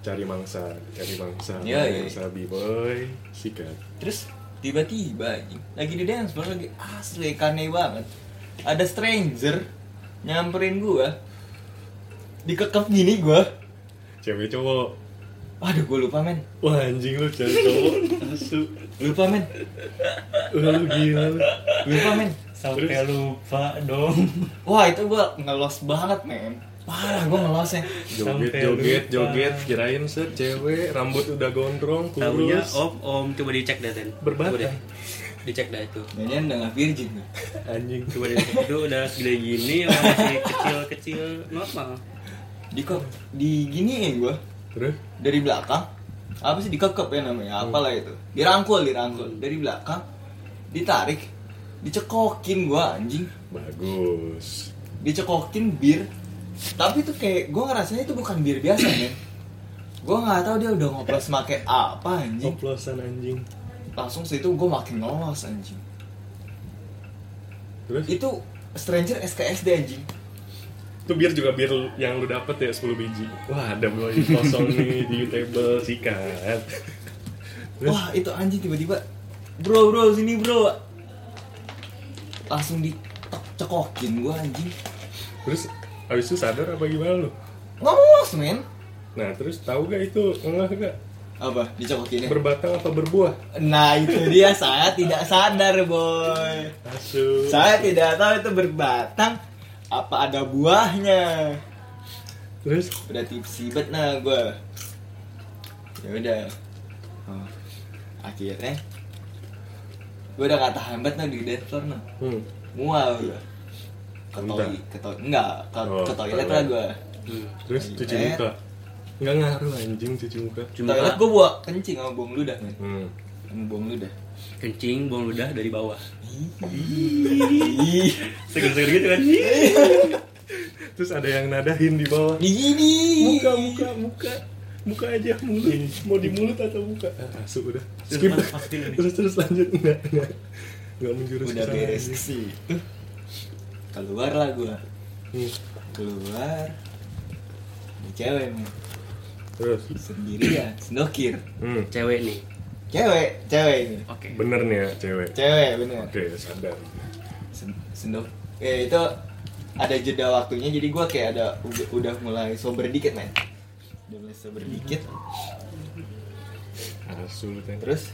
[SPEAKER 1] Cari mangsa, cari mangsa,
[SPEAKER 3] Iya, iya.
[SPEAKER 1] mangsa b-boy, sikat.
[SPEAKER 3] Terus tiba-tiba anjing, lagi di dance floor lagi asli kane banget. Ada stranger nyamperin gua. Dikekep gini gua.
[SPEAKER 1] Cewek cowok.
[SPEAKER 3] Waduh, gua lupa men.
[SPEAKER 1] Wah anjing lu cari cowok. Asu.
[SPEAKER 3] Lupa men.
[SPEAKER 1] Lu gila lu.
[SPEAKER 3] Lupa men.
[SPEAKER 1] Sampai
[SPEAKER 2] lupa dong.
[SPEAKER 3] Wah itu gue ngelos banget men Parah ya. gue ngelosnya
[SPEAKER 1] Joget,
[SPEAKER 2] Sampai
[SPEAKER 1] joget,
[SPEAKER 2] lupa.
[SPEAKER 1] joget. Kirain set cewek, rambut udah gondrong,
[SPEAKER 2] Tahunya
[SPEAKER 1] kurus.
[SPEAKER 2] om om coba dicek deh Ten.
[SPEAKER 1] Berbatang.
[SPEAKER 2] Coba deh. Dicek dah itu.
[SPEAKER 3] Danian udah gak virgin nih.
[SPEAKER 1] Anjing.
[SPEAKER 2] Coba dicek itu udah segede gini apa masih kecil-kecil normal.
[SPEAKER 3] Dikok, diginiin gue
[SPEAKER 1] Terus?
[SPEAKER 3] Dari belakang Apa sih dikekep ya namanya, apalah itu Dirangkul, dirangkul Dari belakang Ditarik Dicekokin gue anjing
[SPEAKER 1] Bagus.
[SPEAKER 3] Dicekokin bir Tapi tuh kayak gue ngerasanya itu bukan bir biasa men Gue gak tahu dia udah ngoplos make apa anjing
[SPEAKER 1] Oplosan anjing.
[SPEAKER 3] Langsung situ gue makin ngelos anjing
[SPEAKER 1] Terus?
[SPEAKER 3] Itu stranger SKSD anjing
[SPEAKER 1] Itu biar juga biar yang lu dapet ya 10 biji. Wah ada boy kosong nih di table, sikat. Terus?
[SPEAKER 3] Wah itu anjing tiba-tiba Bro bro sini bro Langsung dicekokin gua anjing
[SPEAKER 1] Terus abis itu sadar apa gimana lu?
[SPEAKER 3] Ngomos men
[SPEAKER 1] Nah terus tahu gak itu enggak enggak
[SPEAKER 3] Apa dicekokinnya?
[SPEAKER 1] berbatang apa berbuah?
[SPEAKER 3] Nah itu dia saya tidak sadar boy
[SPEAKER 1] Asu.
[SPEAKER 3] Saya tidak tahu itu berbatang Apa ada buahnya
[SPEAKER 1] Terus
[SPEAKER 3] Udah tipsy banget nah gua ya udah Oh, Akhirnya Gua udah gak tahan banget nah di dance floor nah
[SPEAKER 1] hmm.
[SPEAKER 3] mual gua ke
[SPEAKER 1] Muntah?
[SPEAKER 3] toilet ke toilet enggak ke,
[SPEAKER 1] Oh,
[SPEAKER 3] ke toilet
[SPEAKER 1] toilet.
[SPEAKER 3] lah gua
[SPEAKER 2] Hmm.
[SPEAKER 1] terus cuci muka. Enggak ngaruh anjing cuci muka.
[SPEAKER 2] Cuma
[SPEAKER 3] toilet gua buat kencing sama buang ludah men
[SPEAKER 1] Hmm.
[SPEAKER 3] sama buang ludah
[SPEAKER 2] kencing buang ludah dari bawah.
[SPEAKER 3] Ih,
[SPEAKER 2] Seger-seger gitu kan.
[SPEAKER 1] Terus ada yang nadahin di bawah.
[SPEAKER 3] di gini
[SPEAKER 1] Muka muka muka muka aja mulut mau di mulut atau muka ah, asu udah skip
[SPEAKER 2] Terus, pas- pastiin ini.
[SPEAKER 1] terus terus lanjut enggak enggak enggak menjurus
[SPEAKER 3] udah
[SPEAKER 1] ke sana,
[SPEAKER 3] beres ke
[SPEAKER 1] anjing.
[SPEAKER 3] situ keluar lah gua
[SPEAKER 1] Hmm.
[SPEAKER 3] keluar Ini cewek men
[SPEAKER 1] terus
[SPEAKER 3] sendirian sendokir
[SPEAKER 1] hmm.
[SPEAKER 2] Cewek nih.
[SPEAKER 3] cewek cewek ini
[SPEAKER 2] Oke.
[SPEAKER 1] bener nih ya cewek
[SPEAKER 3] cewek bener
[SPEAKER 1] oke sadar
[SPEAKER 3] Sen- sendok eh itu ada jeda waktunya jadi gua kayak ada udah, udah mulai sober dikit men udah mulai sober dikit
[SPEAKER 1] asu lu, Ten.
[SPEAKER 3] terus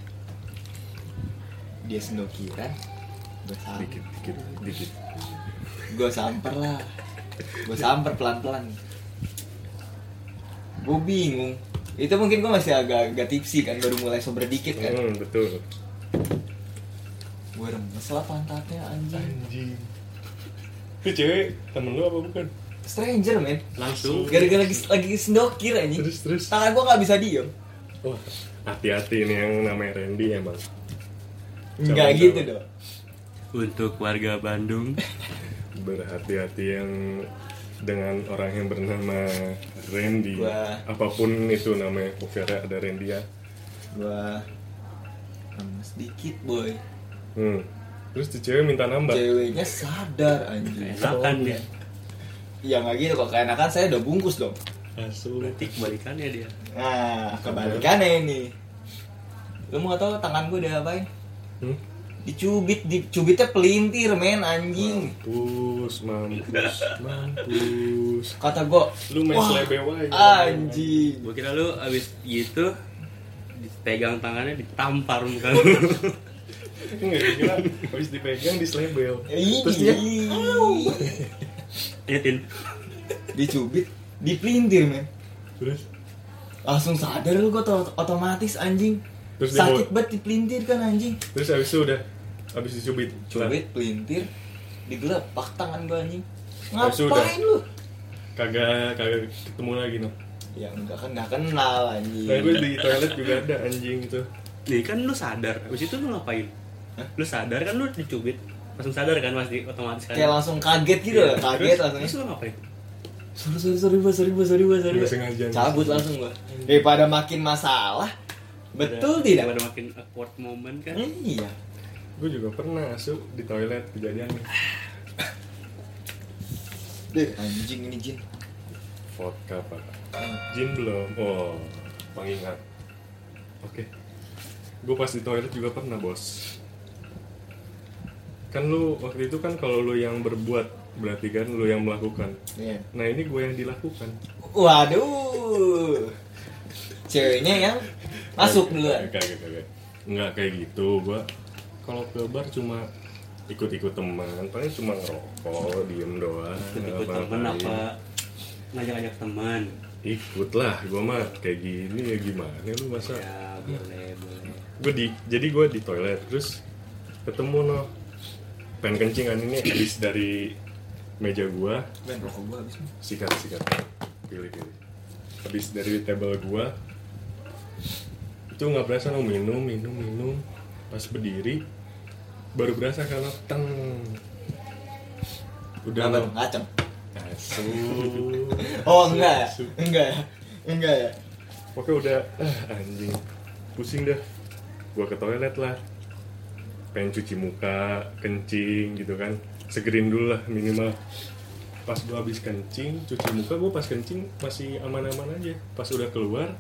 [SPEAKER 3] dia sendokiran Gue samper,
[SPEAKER 1] dikit dikit dikit
[SPEAKER 3] gue samper lah. Gue samper pelan-pelan. Gue bingung. Itu mungkin gue masih agak-agak tipsi kan, baru mulai sober dikit kan.
[SPEAKER 1] hmm, betul
[SPEAKER 3] Gue remes lah pantatnya anjing.
[SPEAKER 1] anjing itu cewek temen lu apa bukan
[SPEAKER 3] Stranger men.
[SPEAKER 2] langsung
[SPEAKER 3] Gara-gara lagi, lagi sendokir anjing. Ah,
[SPEAKER 1] Terus, terus.
[SPEAKER 3] Tangan gue gak bisa diem.
[SPEAKER 1] oh hati-hati nih yang namanya Randy ya, emang
[SPEAKER 3] Enggak
[SPEAKER 1] Jangan-jangan.
[SPEAKER 3] gitu dong.
[SPEAKER 2] untuk warga Bandung
[SPEAKER 1] berhati-hati yang dengan orang yang bernama Randy
[SPEAKER 3] Wah.
[SPEAKER 1] apapun itu namanya Kofera ada Randy ya
[SPEAKER 3] Gua remes dikit boy.
[SPEAKER 1] hmm. terus tuh cewek minta nambah
[SPEAKER 3] Ceweknya sadar anjing.
[SPEAKER 2] enakan dia
[SPEAKER 3] Ya nggak gitu kok keenakan saya udah bungkus dong.
[SPEAKER 1] Asu.
[SPEAKER 2] berarti kebalikannya dia
[SPEAKER 3] Nah, kebalikannya ini. Lu mau tau tangan gua diapain?
[SPEAKER 1] Hmm?
[SPEAKER 3] Dicubit, dicubitnya pelintir men anjing.
[SPEAKER 1] mampus mampus mampus
[SPEAKER 3] Kata gua,
[SPEAKER 1] lu main
[SPEAKER 3] "Wah,
[SPEAKER 1] selebe wae ya."
[SPEAKER 3] Anjing.
[SPEAKER 2] gue kira lu abis gitu dipegang tangannya ditampar muka lu *laughs*
[SPEAKER 1] nggak gila habis dipegang dislebel
[SPEAKER 3] Ih,
[SPEAKER 1] terus dia
[SPEAKER 2] ya tin
[SPEAKER 3] dicubit, dipelintir men.
[SPEAKER 1] terus
[SPEAKER 3] Langsung sadar lu gua to- otomatis anjing.
[SPEAKER 1] Terus dia
[SPEAKER 3] Sakit banget dipelintir kan anjing.
[SPEAKER 1] terus habis itu udah habis dicubit
[SPEAKER 3] Cubit, pelintir, digelepak tangan gua anjing.
[SPEAKER 1] Ya sudah.
[SPEAKER 3] Ngapain lu?
[SPEAKER 1] kagak kagak ketemu lagi no
[SPEAKER 3] Ya enggak kan enggak kenal anjing.
[SPEAKER 1] nah gue di toilet juga ada anjing gitu. itu
[SPEAKER 2] nih kan lu sadar abis itu lu ngapain lu sadar kan lu dicubit langsung sadar kan pasti otomatis kan
[SPEAKER 3] Kayak langsung kaget gitu
[SPEAKER 1] Iya.
[SPEAKER 3] lah, kaget
[SPEAKER 2] terus,
[SPEAKER 3] langsung.
[SPEAKER 2] terus lu ngapain
[SPEAKER 3] Sorry sorry sorry gua, sorry gua, sorry gua, sorry
[SPEAKER 1] Nggak
[SPEAKER 3] gua.
[SPEAKER 1] sengaja.
[SPEAKER 3] Cabut langsung gua. Daripada makin masalah. Betul tidak?
[SPEAKER 2] pada makin awkward moment kan
[SPEAKER 3] Iya.
[SPEAKER 1] gue juga pernah asu di toilet kejadiannya
[SPEAKER 3] Deh, anjing ini jin.
[SPEAKER 1] vodka pak jin belum oh pengingat oke gue pas di toilet juga pernah bos kan lu waktu itu kan kalau lu yang berbuat berarti kan lu yang melakukan
[SPEAKER 3] Iya.
[SPEAKER 1] nah ini gue yang dilakukan
[SPEAKER 3] Waduh. Ceweknya yang masuk duluan.
[SPEAKER 1] kagak kagak, kagak nggak kayak gitu gue kalau ke bar cuma ikut-ikut teman paling cuma ngerokok diem doang
[SPEAKER 2] ikut
[SPEAKER 1] ngapa-ngapain.
[SPEAKER 2] temen apa ngajak-ngajak teman
[SPEAKER 1] ikut lah gue mah kayak gini ya gimana lu masa
[SPEAKER 2] ya boleh boleh
[SPEAKER 1] gue di jadi gue di toilet terus ketemu no pengen kencing kan ini habis dari meja gua
[SPEAKER 3] Ben rokok gua habis. nih.
[SPEAKER 1] sikat sikat pilih pilih habis dari table gua itu nggak berasa no minum minum minum pas berdiri baru berasa kalau teng udah
[SPEAKER 3] Kenapa
[SPEAKER 1] no.
[SPEAKER 3] lu ngacem?
[SPEAKER 1] Asu.
[SPEAKER 3] Oh, enggak.
[SPEAKER 1] Asu.
[SPEAKER 3] Enggak ya. Enggak ya.
[SPEAKER 1] Pokoknya udah *clears throat* ah, anjing pusing dah. Gua ke toilet lah. Pengen cuci muka, kencing gitu kan. Segerin dulu lah minimal. Pas gua habis kencing, cuci muka gua pas kencing masih aman-aman aja. Pas udah keluar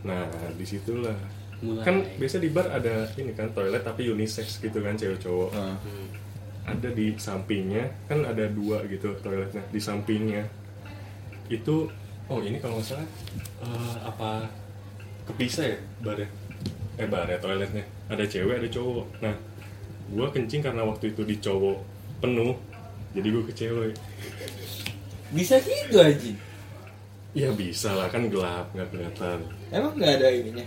[SPEAKER 1] Nah, disitulah
[SPEAKER 2] Mulai.
[SPEAKER 1] Kan biasa di bar ada ini kan toilet tapi unisex gitu kan cewek cowok
[SPEAKER 3] Heeh.
[SPEAKER 1] ada di sampingnya kan ada dua gitu toiletnya di sampingnya itu oh ini kalau nggak salah eh, apa kepisah ya barnya eh barnya toiletnya ada cewek ada cowok nah gua kencing karena waktu itu di cowok penuh jadi gua ke cewek
[SPEAKER 3] Bisa gitu anjing.
[SPEAKER 1] ya bisa lah kan gelap nggak kelihatan
[SPEAKER 3] Emang enggak ada ininya.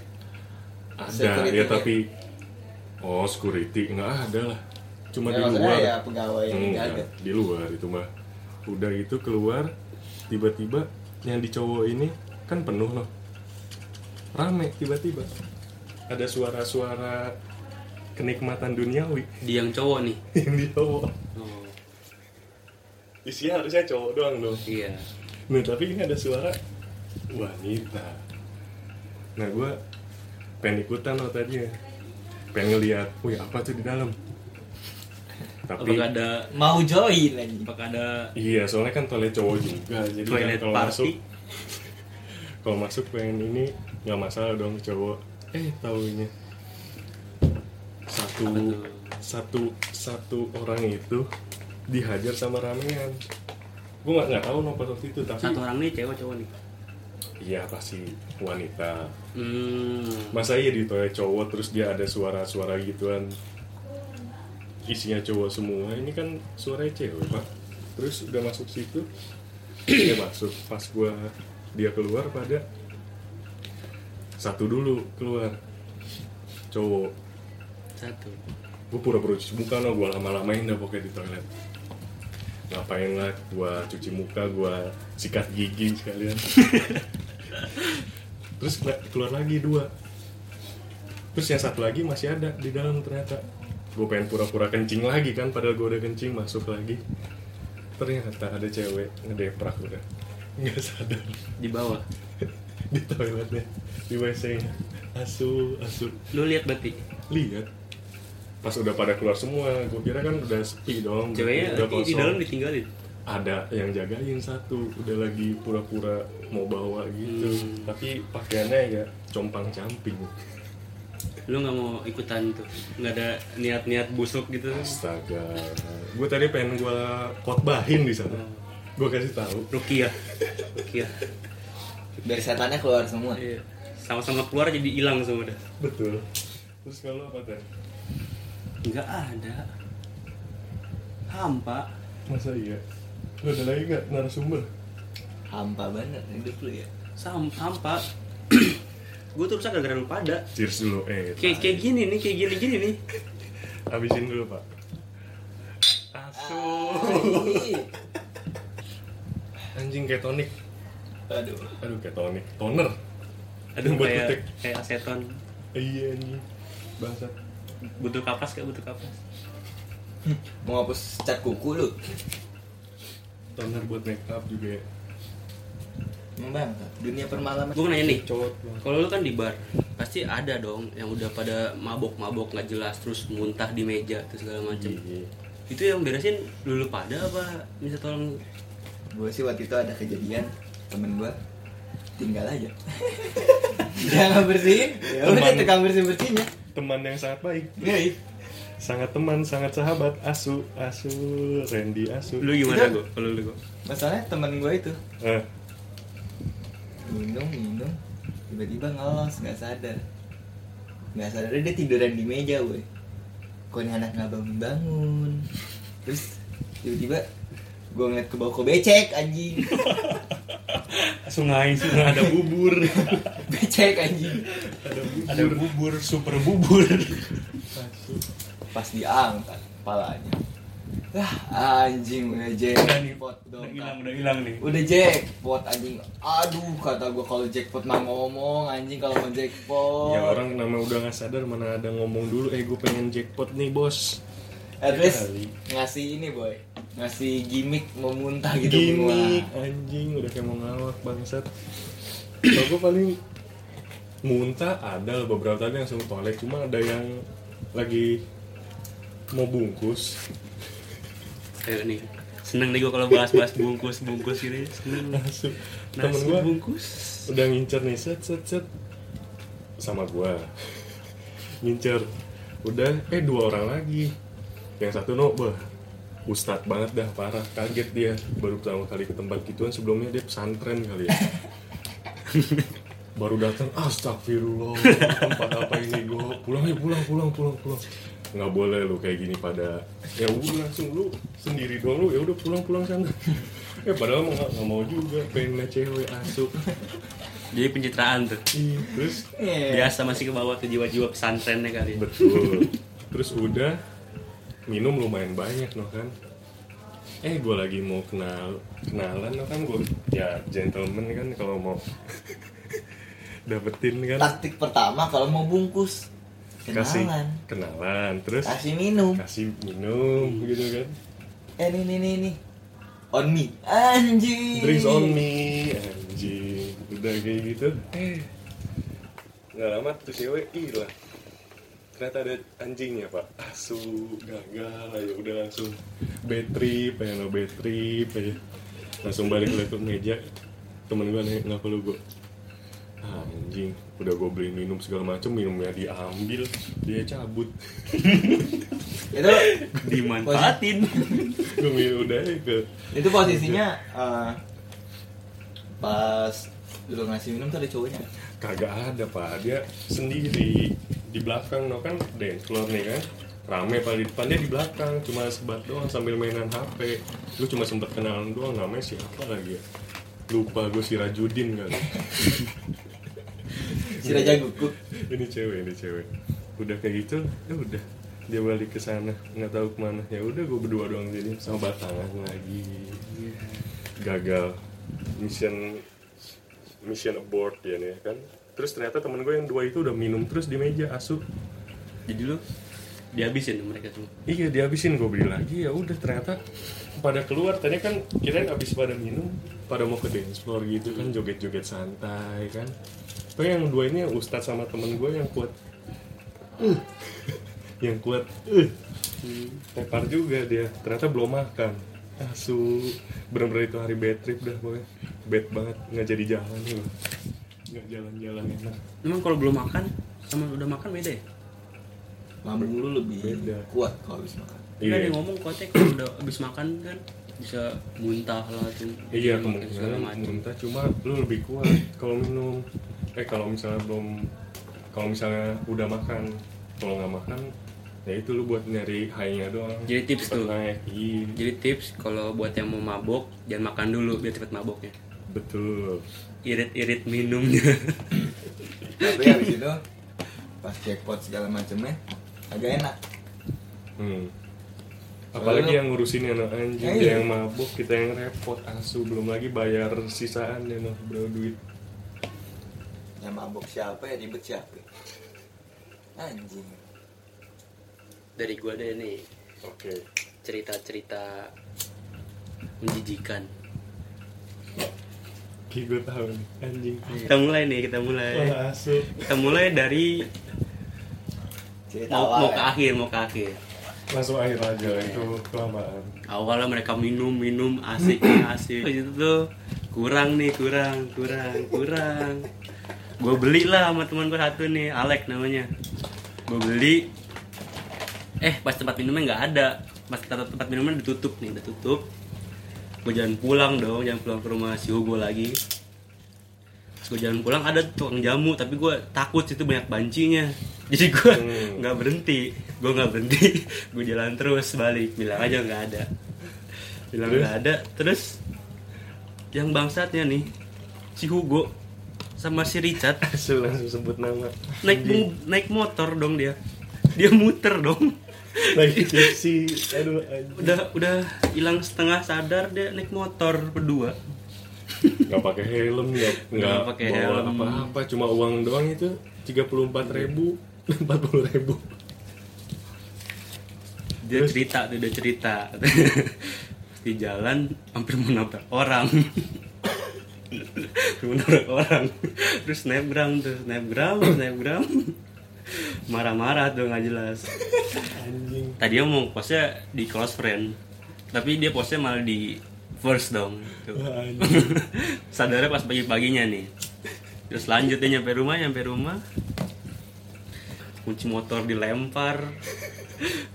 [SPEAKER 1] ada ya
[SPEAKER 3] Security-nya.
[SPEAKER 1] tapi oh security nggak ada lah cuma
[SPEAKER 3] Ya,
[SPEAKER 1] di
[SPEAKER 3] maksudnya
[SPEAKER 1] luar
[SPEAKER 3] ya pegawai yang
[SPEAKER 1] Enggak,
[SPEAKER 3] jaga.
[SPEAKER 1] di luar itu mah udah itu keluar tiba-tiba yang di cowok ini kan penuh loh rame tiba-tiba ada suara-suara kenikmatan duniawi *laughs*
[SPEAKER 2] di yang cowok nih
[SPEAKER 1] yang di cowok
[SPEAKER 2] oh
[SPEAKER 1] isinya harusnya cowok doang loh
[SPEAKER 2] iya
[SPEAKER 1] nah tapi ini ada suara wanita nah gue pengen ikutan loh tadinya pengen ngeliat wih apa tuh di dalam tapi
[SPEAKER 2] apakah ada
[SPEAKER 3] Mau join anjing.
[SPEAKER 2] apakah ada
[SPEAKER 1] Iya, soalnya kan toilet cowok juga. Jadi kan
[SPEAKER 2] Toilet
[SPEAKER 1] kalau
[SPEAKER 2] party.
[SPEAKER 1] masuk kalau masuk pengen ini nggak masalah dong cowok. Eh, taunya satu
[SPEAKER 2] Apa tuh?
[SPEAKER 1] satu satu orang itu dihajar sama ramean. Gue nggak nggak tahu nomor waktu itu tapi
[SPEAKER 2] satu orang nih cewek cowok nih
[SPEAKER 1] iya pasti wanita.
[SPEAKER 2] hmm
[SPEAKER 1] Masa iya di toilet cowok terus dia ada suara-suara gituan. isinya cowok semua ini kan suaranya cewek pak terus udah masuk situ *clears throat* dia masuk pas gua dia keluar pada satu dulu keluar cowok
[SPEAKER 2] satu
[SPEAKER 1] gue pura-pura cuci muka no gue lama-lamain dah pokoknya di toilet ngapain lah gue cuci muka gue sikat gigi sekalian terus kela- keluar lagi dua terus yang satu lagi masih ada di dalam ternyata gue pengen pura-pura kencing lagi kan padahal gue udah kencing masuk lagi ternyata ada cewek ngedeprak udah nggak sadar
[SPEAKER 2] di bawah
[SPEAKER 1] di toiletnya di wc nya asu asu
[SPEAKER 2] lu lihat berarti
[SPEAKER 1] lihat pas udah pada keluar semua gue kira kan udah sepi dong
[SPEAKER 2] ceweknya
[SPEAKER 1] udah
[SPEAKER 2] di, di dalam ditinggalin
[SPEAKER 1] ada yang jagain satu udah lagi pura-pura mau bawa gitu
[SPEAKER 2] Hmm.
[SPEAKER 1] tapi pakaiannya ya compang camping
[SPEAKER 2] lu nggak mau ikutan tuh nggak ada niat-niat busuk gitu
[SPEAKER 1] astaga gue tadi pengen gue khotbahin di
[SPEAKER 2] Hmm.
[SPEAKER 1] sana gue kasih tahu
[SPEAKER 2] rukiah rukiah
[SPEAKER 3] Dari setannya keluar semua.
[SPEAKER 2] Iya. sama-sama keluar jadi hilang semua dah
[SPEAKER 1] betul terus kalau apa teh
[SPEAKER 2] nggak ada hampa
[SPEAKER 1] masa iya lu ada lagi nggak narasumber
[SPEAKER 3] Hampa banget hidup lu ya.
[SPEAKER 2] Sam, hampa *clears throat* gue tuh rusak gara-gara lu pada
[SPEAKER 1] cheers dulu eh
[SPEAKER 2] kayak kayak gini nih kayak gini gini nih
[SPEAKER 1] habisin dulu pak asu anjing kayak tonik
[SPEAKER 3] Aduh.
[SPEAKER 1] aduh kayak tonik toner
[SPEAKER 2] aduh
[SPEAKER 1] Buat
[SPEAKER 2] kayak
[SPEAKER 1] detik.
[SPEAKER 2] kayak aseton
[SPEAKER 1] iya anjing bangsat
[SPEAKER 2] butuh kapas kayak butuh kapas
[SPEAKER 3] Mau hapus cat kuku lu.
[SPEAKER 1] toner buat make up juga ya
[SPEAKER 3] Emang bang, dunia permalaman.
[SPEAKER 2] gue nanya nih
[SPEAKER 1] cowok
[SPEAKER 2] kalau lu kan di bar pasti ada dong yang udah pada mabok-mabok nggak jelas terus muntah di meja terus segala macem
[SPEAKER 1] Iya.
[SPEAKER 2] itu yang beresin dulu pada apa bisa tolong
[SPEAKER 3] Gue sih waktu itu ada kejadian temen gue tinggal *laughs* aja. Jangan bersihin. Ya udah
[SPEAKER 1] Teman.
[SPEAKER 3] tukang bersihin bersihnya.
[SPEAKER 1] teman yang sangat baik
[SPEAKER 3] Nih,
[SPEAKER 1] sangat teman sangat sahabat asu asu Randy asu
[SPEAKER 2] lu gimana gue kalau lu gue
[SPEAKER 3] masalahnya temen gue itu
[SPEAKER 1] Eh,
[SPEAKER 3] minum minum tiba-tiba ngelos nggak sadar nggak sadar dia tiduran di meja gue kok ini anak nggak bangun bangun terus tiba-tiba gue ngeliat ke bawah kok becek anjing
[SPEAKER 2] sungai sih ada bubur
[SPEAKER 3] becek anjing
[SPEAKER 2] ada bubur super bubur
[SPEAKER 3] pas diangkat kepalanya lah anjing udah
[SPEAKER 2] udah
[SPEAKER 3] jackpot
[SPEAKER 2] nih
[SPEAKER 3] dong
[SPEAKER 2] udah hilang udah hilang nih
[SPEAKER 3] udah jackpot anjing aduh kata gue kalau jackpot mah ngomong anjing kalau mau jackpot
[SPEAKER 1] ya orang nama udah nggak sadar mana ada ngomong dulu eh gue pengen jackpot nih bos
[SPEAKER 3] At least
[SPEAKER 1] Kali.
[SPEAKER 3] ngasih ini boy Ngasih gimmick
[SPEAKER 2] Ah,
[SPEAKER 3] memuntah gitu
[SPEAKER 1] gimmick
[SPEAKER 3] Wah.
[SPEAKER 1] anjing udah kayak mau ngawak bangsat kalau gue paling muntah ada beberapa tadi yang langsung ke toilet cuma ada yang lagi mau bungkus
[SPEAKER 2] kayak nih seneng nih gue kalau bahas-bahas bungkus bungkus ini seneng
[SPEAKER 1] Asu. temen
[SPEAKER 2] nasi
[SPEAKER 1] gue
[SPEAKER 2] bungkus
[SPEAKER 1] udah ngincer nih set set set sama gua *laughs* ngincer udah eh dua orang lagi yang satu no bah ustad banget dah parah kaget dia baru pertama kali ke tempat gituan sebelumnya dia pesantren kali ya baru datang astagfirullah tempat apa ini gua pulang ya pulang pulang pulang pulang nggak boleh lu kayak gini pada ya udah langsung lu sendiri doang lu ya udah pulang pulang sana *laughs* eh padahal mau nggak nggak mau juga pengen liat cewek asuk
[SPEAKER 2] jadi pencitraan tuh
[SPEAKER 1] Ih, terus Ya.
[SPEAKER 3] Iya.
[SPEAKER 2] biasa masih ke bawah tuh jiwa-jiwa pesantrennya kali
[SPEAKER 1] *laughs*
[SPEAKER 2] ya.
[SPEAKER 1] betul terus udah minum lumayan banyak no kan eh gue lagi mau kenal kenalan no kan gue ya gentleman kan kalau mau *laughs* dapetin kan
[SPEAKER 3] Taktik pertama kalau mau bungkus
[SPEAKER 1] kasih
[SPEAKER 3] Kenalan
[SPEAKER 1] kenalan terus
[SPEAKER 3] Kasih minum
[SPEAKER 1] kasih minum gitu kan
[SPEAKER 3] Eh ini ini ini, ini On me Anjing
[SPEAKER 1] drinks on me anjing udah kayak gitu eh nggak lama tuh cewek hilang ternyata ada anjingnya pak asu gagal ya udah langsung bad trip pengen lo bad trip aja. langsung balik lagi ke meja temen gue nih nggak perlu gue anjing udah gue beliin minum segala macem minumnya diambil dia cabut *laughs*
[SPEAKER 3] Itu
[SPEAKER 2] dimanfaatin
[SPEAKER 1] gue minum udah ya ke
[SPEAKER 3] itu posisinya eh, Pas lu ngasih minum tuh ada cowoknya
[SPEAKER 1] kagak ada pak dia sendiri di belakang no kan dance floor nih kan rame paling di depan dia di belakang cuma sebat doang sambil mainan HP gue cuma sempet kenalan doang namanya siapa lagi ya lupa gue si Rajudin kali
[SPEAKER 3] si raja guguk
[SPEAKER 1] ini cewek ini cewek udah kayak gitu ya udah dia balik ke sana nggak tahu kemana ya udah gue berdua doang jadi sama batangan lagi gagal mission mission abort ya nih kan terus ternyata temen gue yang dua itu udah minum terus di meja asu
[SPEAKER 2] jadi lu dihabisin mereka semua
[SPEAKER 1] iya dihabisin gue beli lagi ya udah ternyata pada keluar tadi kan kirain abis pada minum pada mau ke dance floor gitu kan joget-joget santai kan tapi yang dua ini yang ustadz sama temen gue yang
[SPEAKER 2] *laughs*
[SPEAKER 1] kuat "Uh." yang kuat "Uh." tepar juga dia ternyata belum makan asu bener-bener itu hari bad trip dah pokoknya bad banget nggak jadi jalan loh nggak jalan-jalan enak
[SPEAKER 2] emang kalau belum makan sama udah makan beda ya
[SPEAKER 3] lambung lu lebih
[SPEAKER 1] Beda.
[SPEAKER 3] kuat kalau habis makan
[SPEAKER 2] Iya. Ada yang ngomong kuatnya kalau udah habis makan kan bisa muntah lah tuh.
[SPEAKER 1] Iya
[SPEAKER 2] Makan segala
[SPEAKER 1] kemungkinan
[SPEAKER 2] macam.
[SPEAKER 1] muntah cuma lu lebih kuat kalau minum. Eh kalau misalnya belum kalau misalnya udah makan kalau nggak makan ya itu lu buat nyari high-nya doang.
[SPEAKER 2] Jadi tips
[SPEAKER 1] Cepet
[SPEAKER 2] tuh.
[SPEAKER 1] Naik. Iya,
[SPEAKER 2] Jadi tips kalau buat yang mau mabok jangan makan dulu biar cepet maboknya.
[SPEAKER 1] betul.
[SPEAKER 2] Irit-irit minumnya.
[SPEAKER 3] tapi habis itu pas jackpot segala macemnya agak enak
[SPEAKER 1] Hmm. Apalagi
[SPEAKER 3] Soalnya-
[SPEAKER 1] yang ngurusin anak anjing,
[SPEAKER 3] Ya,
[SPEAKER 1] dia
[SPEAKER 3] iya.
[SPEAKER 1] yang mabuk, kita yang repot, asu belum lagi bayar sisaan ya noh, bro duit.
[SPEAKER 3] yang mabok siapa ya ribet siapa anjing
[SPEAKER 2] *laughs* Dari gua ada nih
[SPEAKER 1] Oke.
[SPEAKER 2] cerita-cerita menjijikan.
[SPEAKER 1] Okay. Gue tahu nih, anjing.
[SPEAKER 2] Kita mulai nih, kita mulai.
[SPEAKER 1] Wah, asu.
[SPEAKER 2] Kita mulai dari
[SPEAKER 3] cerita
[SPEAKER 2] mau,
[SPEAKER 3] awal
[SPEAKER 2] mau ke
[SPEAKER 3] ya.
[SPEAKER 2] akhir, mau ke akhir.
[SPEAKER 1] Langsung air aja itu kelamaan.
[SPEAKER 2] awalnya mereka minum minum asik *clears throat* asik Habis itu tuh kurang nih kurang kurang kurang gue beli lah sama teman gue satu nih Alek namanya gue beli eh pas tempat minumnya nggak ada pas tempat, tempat minumnya ditutup nih udah tutup gue jalan pulang dong jalan pulang ke rumah si Hugo lagi Terus gue jalan pulang ada tukang jamu tapi gue takut situ banyak bancinya *laughs* jadi gue
[SPEAKER 1] Hmm.
[SPEAKER 2] nggak berhenti gue nggak berhenti *laughs* gue jalan terus balik bilang aja nggak ada bilang
[SPEAKER 1] Terus?
[SPEAKER 2] nggak ada terus yang bangsatnya nih si Hugo sama si Richard
[SPEAKER 1] *laughs* Asu langsung sebut nama.
[SPEAKER 2] naik mo- naik motor dong dia dia muter dong
[SPEAKER 1] lagi tipsi aduh anjing
[SPEAKER 2] udah udah hilang setengah sadar dia naik motor berdua
[SPEAKER 1] nggak pakai helm ya nggak
[SPEAKER 2] Nggak pakai
[SPEAKER 1] pakai bawa
[SPEAKER 2] helm.
[SPEAKER 1] apa apa cuma uang doang itu tiga puluh empat ribu empat puluh ribu
[SPEAKER 2] dia cerita tuh dia cerita *laughs* di jalan hampir mau nabrak orang *laughs* Hampir mau nabrak orang terus snapgram tuh snapgram snapgram marah-marah tuh nggak jelas
[SPEAKER 1] anjing
[SPEAKER 2] tadi mau posnya di close friend tapi dia posnya malah di first dong tuh.
[SPEAKER 1] Wah, anjing.
[SPEAKER 2] *laughs* sadarnya pas pagi-paginya nih terus lanjutnya nyampe rumah nyampe rumah kunci motor dilempar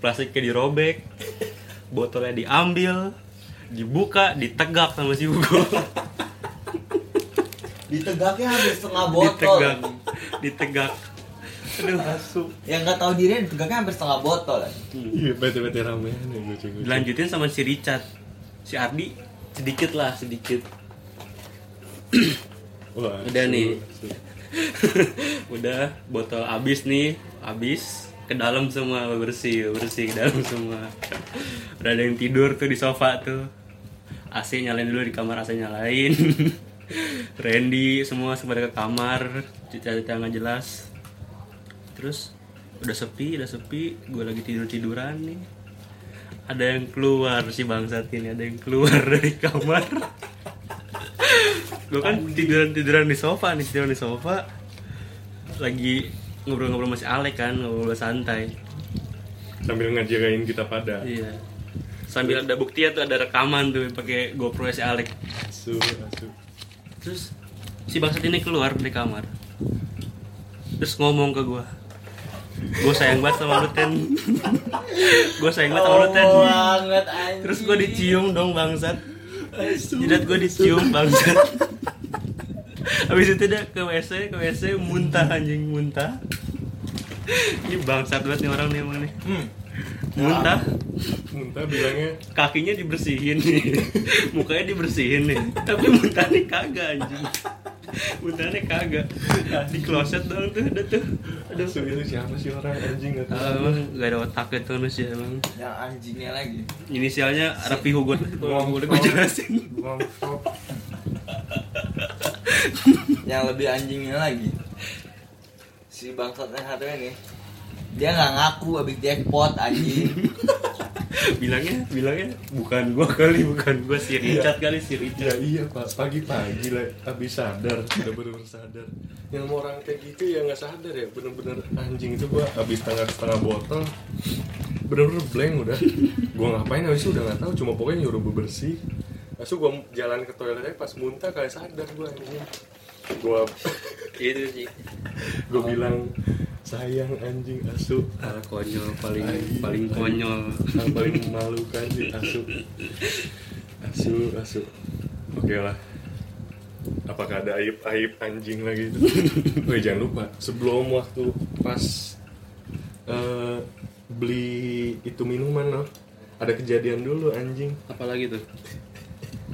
[SPEAKER 2] plastiknya dirobek botolnya diambil dibuka ditegak sama si Hugo
[SPEAKER 3] ditegaknya habis setengah botol
[SPEAKER 2] ditegak ditegak aduh
[SPEAKER 3] yang nggak tahu diri ditegaknya hampir setengah botol kan
[SPEAKER 1] iya bete bete ramean ya gue cenggu
[SPEAKER 2] dilanjutin sama si Richard si Ardi sedikit lah sedikit
[SPEAKER 1] Wah,
[SPEAKER 2] Udah
[SPEAKER 1] asu,
[SPEAKER 2] nih.
[SPEAKER 1] asu.
[SPEAKER 2] *laughs* udah botol abis nih abis ke dalam semua bersih bersih ke dalam semua udah ada yang tidur tuh di sofa tuh AC nyalain dulu di kamar AC nyalain *laughs* Randy semua sepada ke kamar cerita-cerita nggak jelas terus udah sepi udah sepi gue lagi tidur tiduran nih ada yang keluar si bangsat ini ada yang keluar *laughs* dari kamar gue kan tiduran tiduran di sofa nih tiduran di sofa lagi ngobrol-ngobrol masih Alek kan ngobrol santai
[SPEAKER 1] sambil ngejagain kita pada
[SPEAKER 2] iya sambil ada bukti tuh ada rekaman tuh pakai GoPro si Alek
[SPEAKER 1] asu asu
[SPEAKER 2] terus si bangsat ini keluar dari kamar terus ngomong ke gue gue sayang banget sama lu ten gue sayang banget sama lu ten
[SPEAKER 3] Oh, banget anjing
[SPEAKER 2] terus gue dicium dong bangsat jidat gue dicium bangsat habis itu dia ke wc ke wc muntah anjing muntah ini bangsat banget nih orang nih emang nih
[SPEAKER 3] hmm.
[SPEAKER 2] muntah
[SPEAKER 1] muntah bilangnya
[SPEAKER 2] kakinya dibersihin nih mukanya dibersihin nih tapi muntahnya kagak anjing muntahnya kagak Nah, di kloset doang tuh udah tuh
[SPEAKER 1] aduh itu siapa sih orang anjing nggak tahu
[SPEAKER 2] Ah, emang gak ada otaknya tuh manusia emang
[SPEAKER 3] yang anjingnya lagi
[SPEAKER 2] inisialnya Rafi Hugo
[SPEAKER 1] Ngomong.
[SPEAKER 2] boleh gue jelasin
[SPEAKER 1] Ngompok.
[SPEAKER 3] yang lebih anjingnya lagi si bangsat yang satu ini dia nggak ngaku habis jackpot *laughs* anjing
[SPEAKER 2] bilangnya bilangnya bukan gua kali bukan gua si Richard kali si
[SPEAKER 1] ya
[SPEAKER 2] Richard
[SPEAKER 1] iya pak pagi-pagi lah habis sadar udah bener-bener sadar yang mau orang kayak gitu ya nggak sadar ya bener-bener anjing itu gua habis setengah setengah botol bener-bener blank udah gua ngapain habis itu udah nggak tahu cuma pokoknya nyuruh bebersih Lalu gua jalan ke toiletnya pas muntah kayak sadar gua anjing gua
[SPEAKER 2] Iya, itu sih
[SPEAKER 1] gue bilang sayang anjing asu
[SPEAKER 2] ah, konyol paling paling konyol
[SPEAKER 1] yang paling memalukan sih asu asu asu oke lah apakah ada aib aib anjing lagi itu Weh, jangan lupa sebelum waktu pas eh, beli itu minuman loh ada kejadian dulu anjing
[SPEAKER 2] apalagi tuh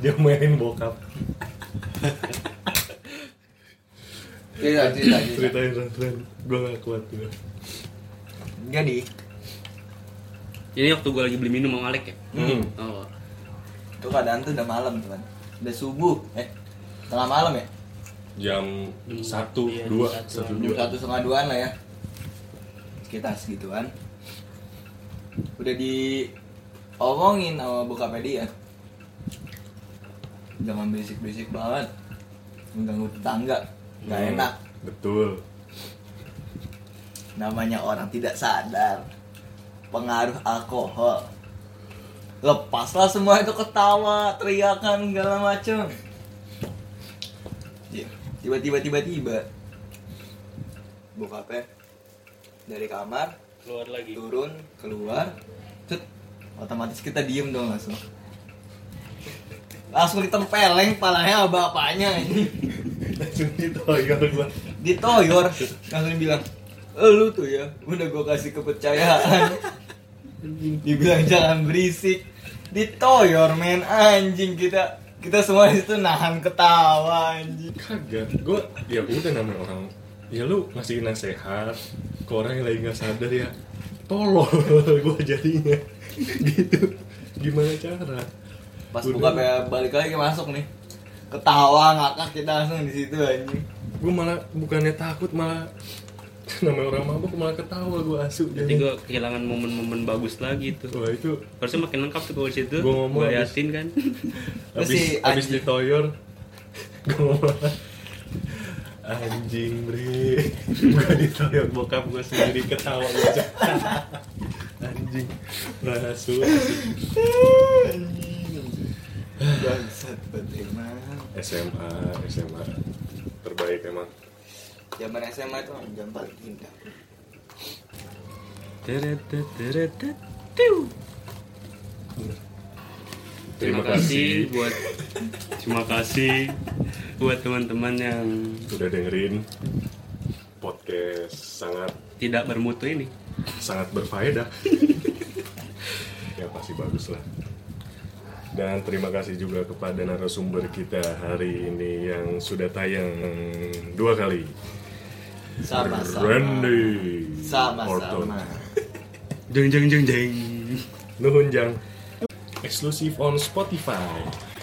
[SPEAKER 1] dia mainin bokap
[SPEAKER 3] cerita Iya, cerita cerita
[SPEAKER 1] ceritain Ran gue gak kuat gue
[SPEAKER 3] jadi
[SPEAKER 2] ini waktu gua lagi beli minum sama Alek ya
[SPEAKER 1] hmm.
[SPEAKER 2] oh
[SPEAKER 3] itu keadaan tuh udah malam teman udah subuh eh tengah malam ya
[SPEAKER 1] jam
[SPEAKER 2] Hmm.
[SPEAKER 1] satu
[SPEAKER 2] Iya,
[SPEAKER 1] dua
[SPEAKER 2] jam satu.
[SPEAKER 1] satu
[SPEAKER 3] jam
[SPEAKER 1] dua
[SPEAKER 3] satu setengah duaan lah ya sekitar segituan udah diomongin sama bokapnya dia jangan berisik-berisik banget mengganggu tetangga nggak
[SPEAKER 1] Hmm,
[SPEAKER 3] enak
[SPEAKER 2] *laughs*
[SPEAKER 1] betul
[SPEAKER 3] namanya orang tidak sadar pengaruh alkohol lepaslah semua itu ketawa teriakan segala macem Iya, tiba-tiba tiba-tiba bokapnya dari kamar
[SPEAKER 2] keluar lagi
[SPEAKER 3] turun keluar cet, otomatis kita diem dong langsung langsung ditempeleng palanya sama bapaknya ini
[SPEAKER 1] langsung ditoyor gua
[SPEAKER 3] ditoyor langsung bilang "Eh, lu tuh ya udah gue kasih kepercayaan dibilang jangan berisik ditoyor men anjing kita kita semua itu nahan ketawa anjing
[SPEAKER 1] kagak gua ya udah namanya orang ya lu ngasih nasehat ke orang yang lagi nggak sadar ya tolol *laughs* gua jadinya *laughs* gitu gimana cara
[SPEAKER 3] pas
[SPEAKER 1] Udah.
[SPEAKER 3] buka balik lagi masuk nih ketawa ngakak kita langsung di situ anjing
[SPEAKER 1] gua malah bukannya takut malah *laughs* namanya orang mabuk malah ketawa gua asu
[SPEAKER 2] nanti
[SPEAKER 1] jadi
[SPEAKER 2] gua kehilangan momen-momen bagus lagi tuh
[SPEAKER 1] wah itu
[SPEAKER 2] harusnya makin lengkap tuh kalau di situ
[SPEAKER 1] Gua ngomong
[SPEAKER 2] gua
[SPEAKER 1] habis.
[SPEAKER 2] liatin kan
[SPEAKER 3] Terus
[SPEAKER 1] habis
[SPEAKER 3] si
[SPEAKER 1] habis
[SPEAKER 3] anjing.
[SPEAKER 1] ditoyor *laughs* gua malah *laughs* anjing bre gua ditoyor bokap gua sendiri ketawa gua *laughs* anjing rasu
[SPEAKER 3] Anjing. bangsat banget emang
[SPEAKER 1] SMA SMA terbaik emang
[SPEAKER 3] zaman SMA itu jam paling indah
[SPEAKER 2] Teret, teret, teret, teret, tiu. Terima kasih buat terima kasih buat teman-teman yang
[SPEAKER 1] udah dengerin podcast sangat
[SPEAKER 2] tidak bermutu ini.
[SPEAKER 1] sangat berfaedah *laughs* ya pasti bagus lah dan terima kasih juga kepada narasumber kita hari ini yang sudah tayang dua kali
[SPEAKER 3] sama-sama
[SPEAKER 1] Randy Orton.
[SPEAKER 3] sama-sama
[SPEAKER 2] Jeng jeng jeng jeng.
[SPEAKER 1] Nuhun Jang eksklusif on Spotify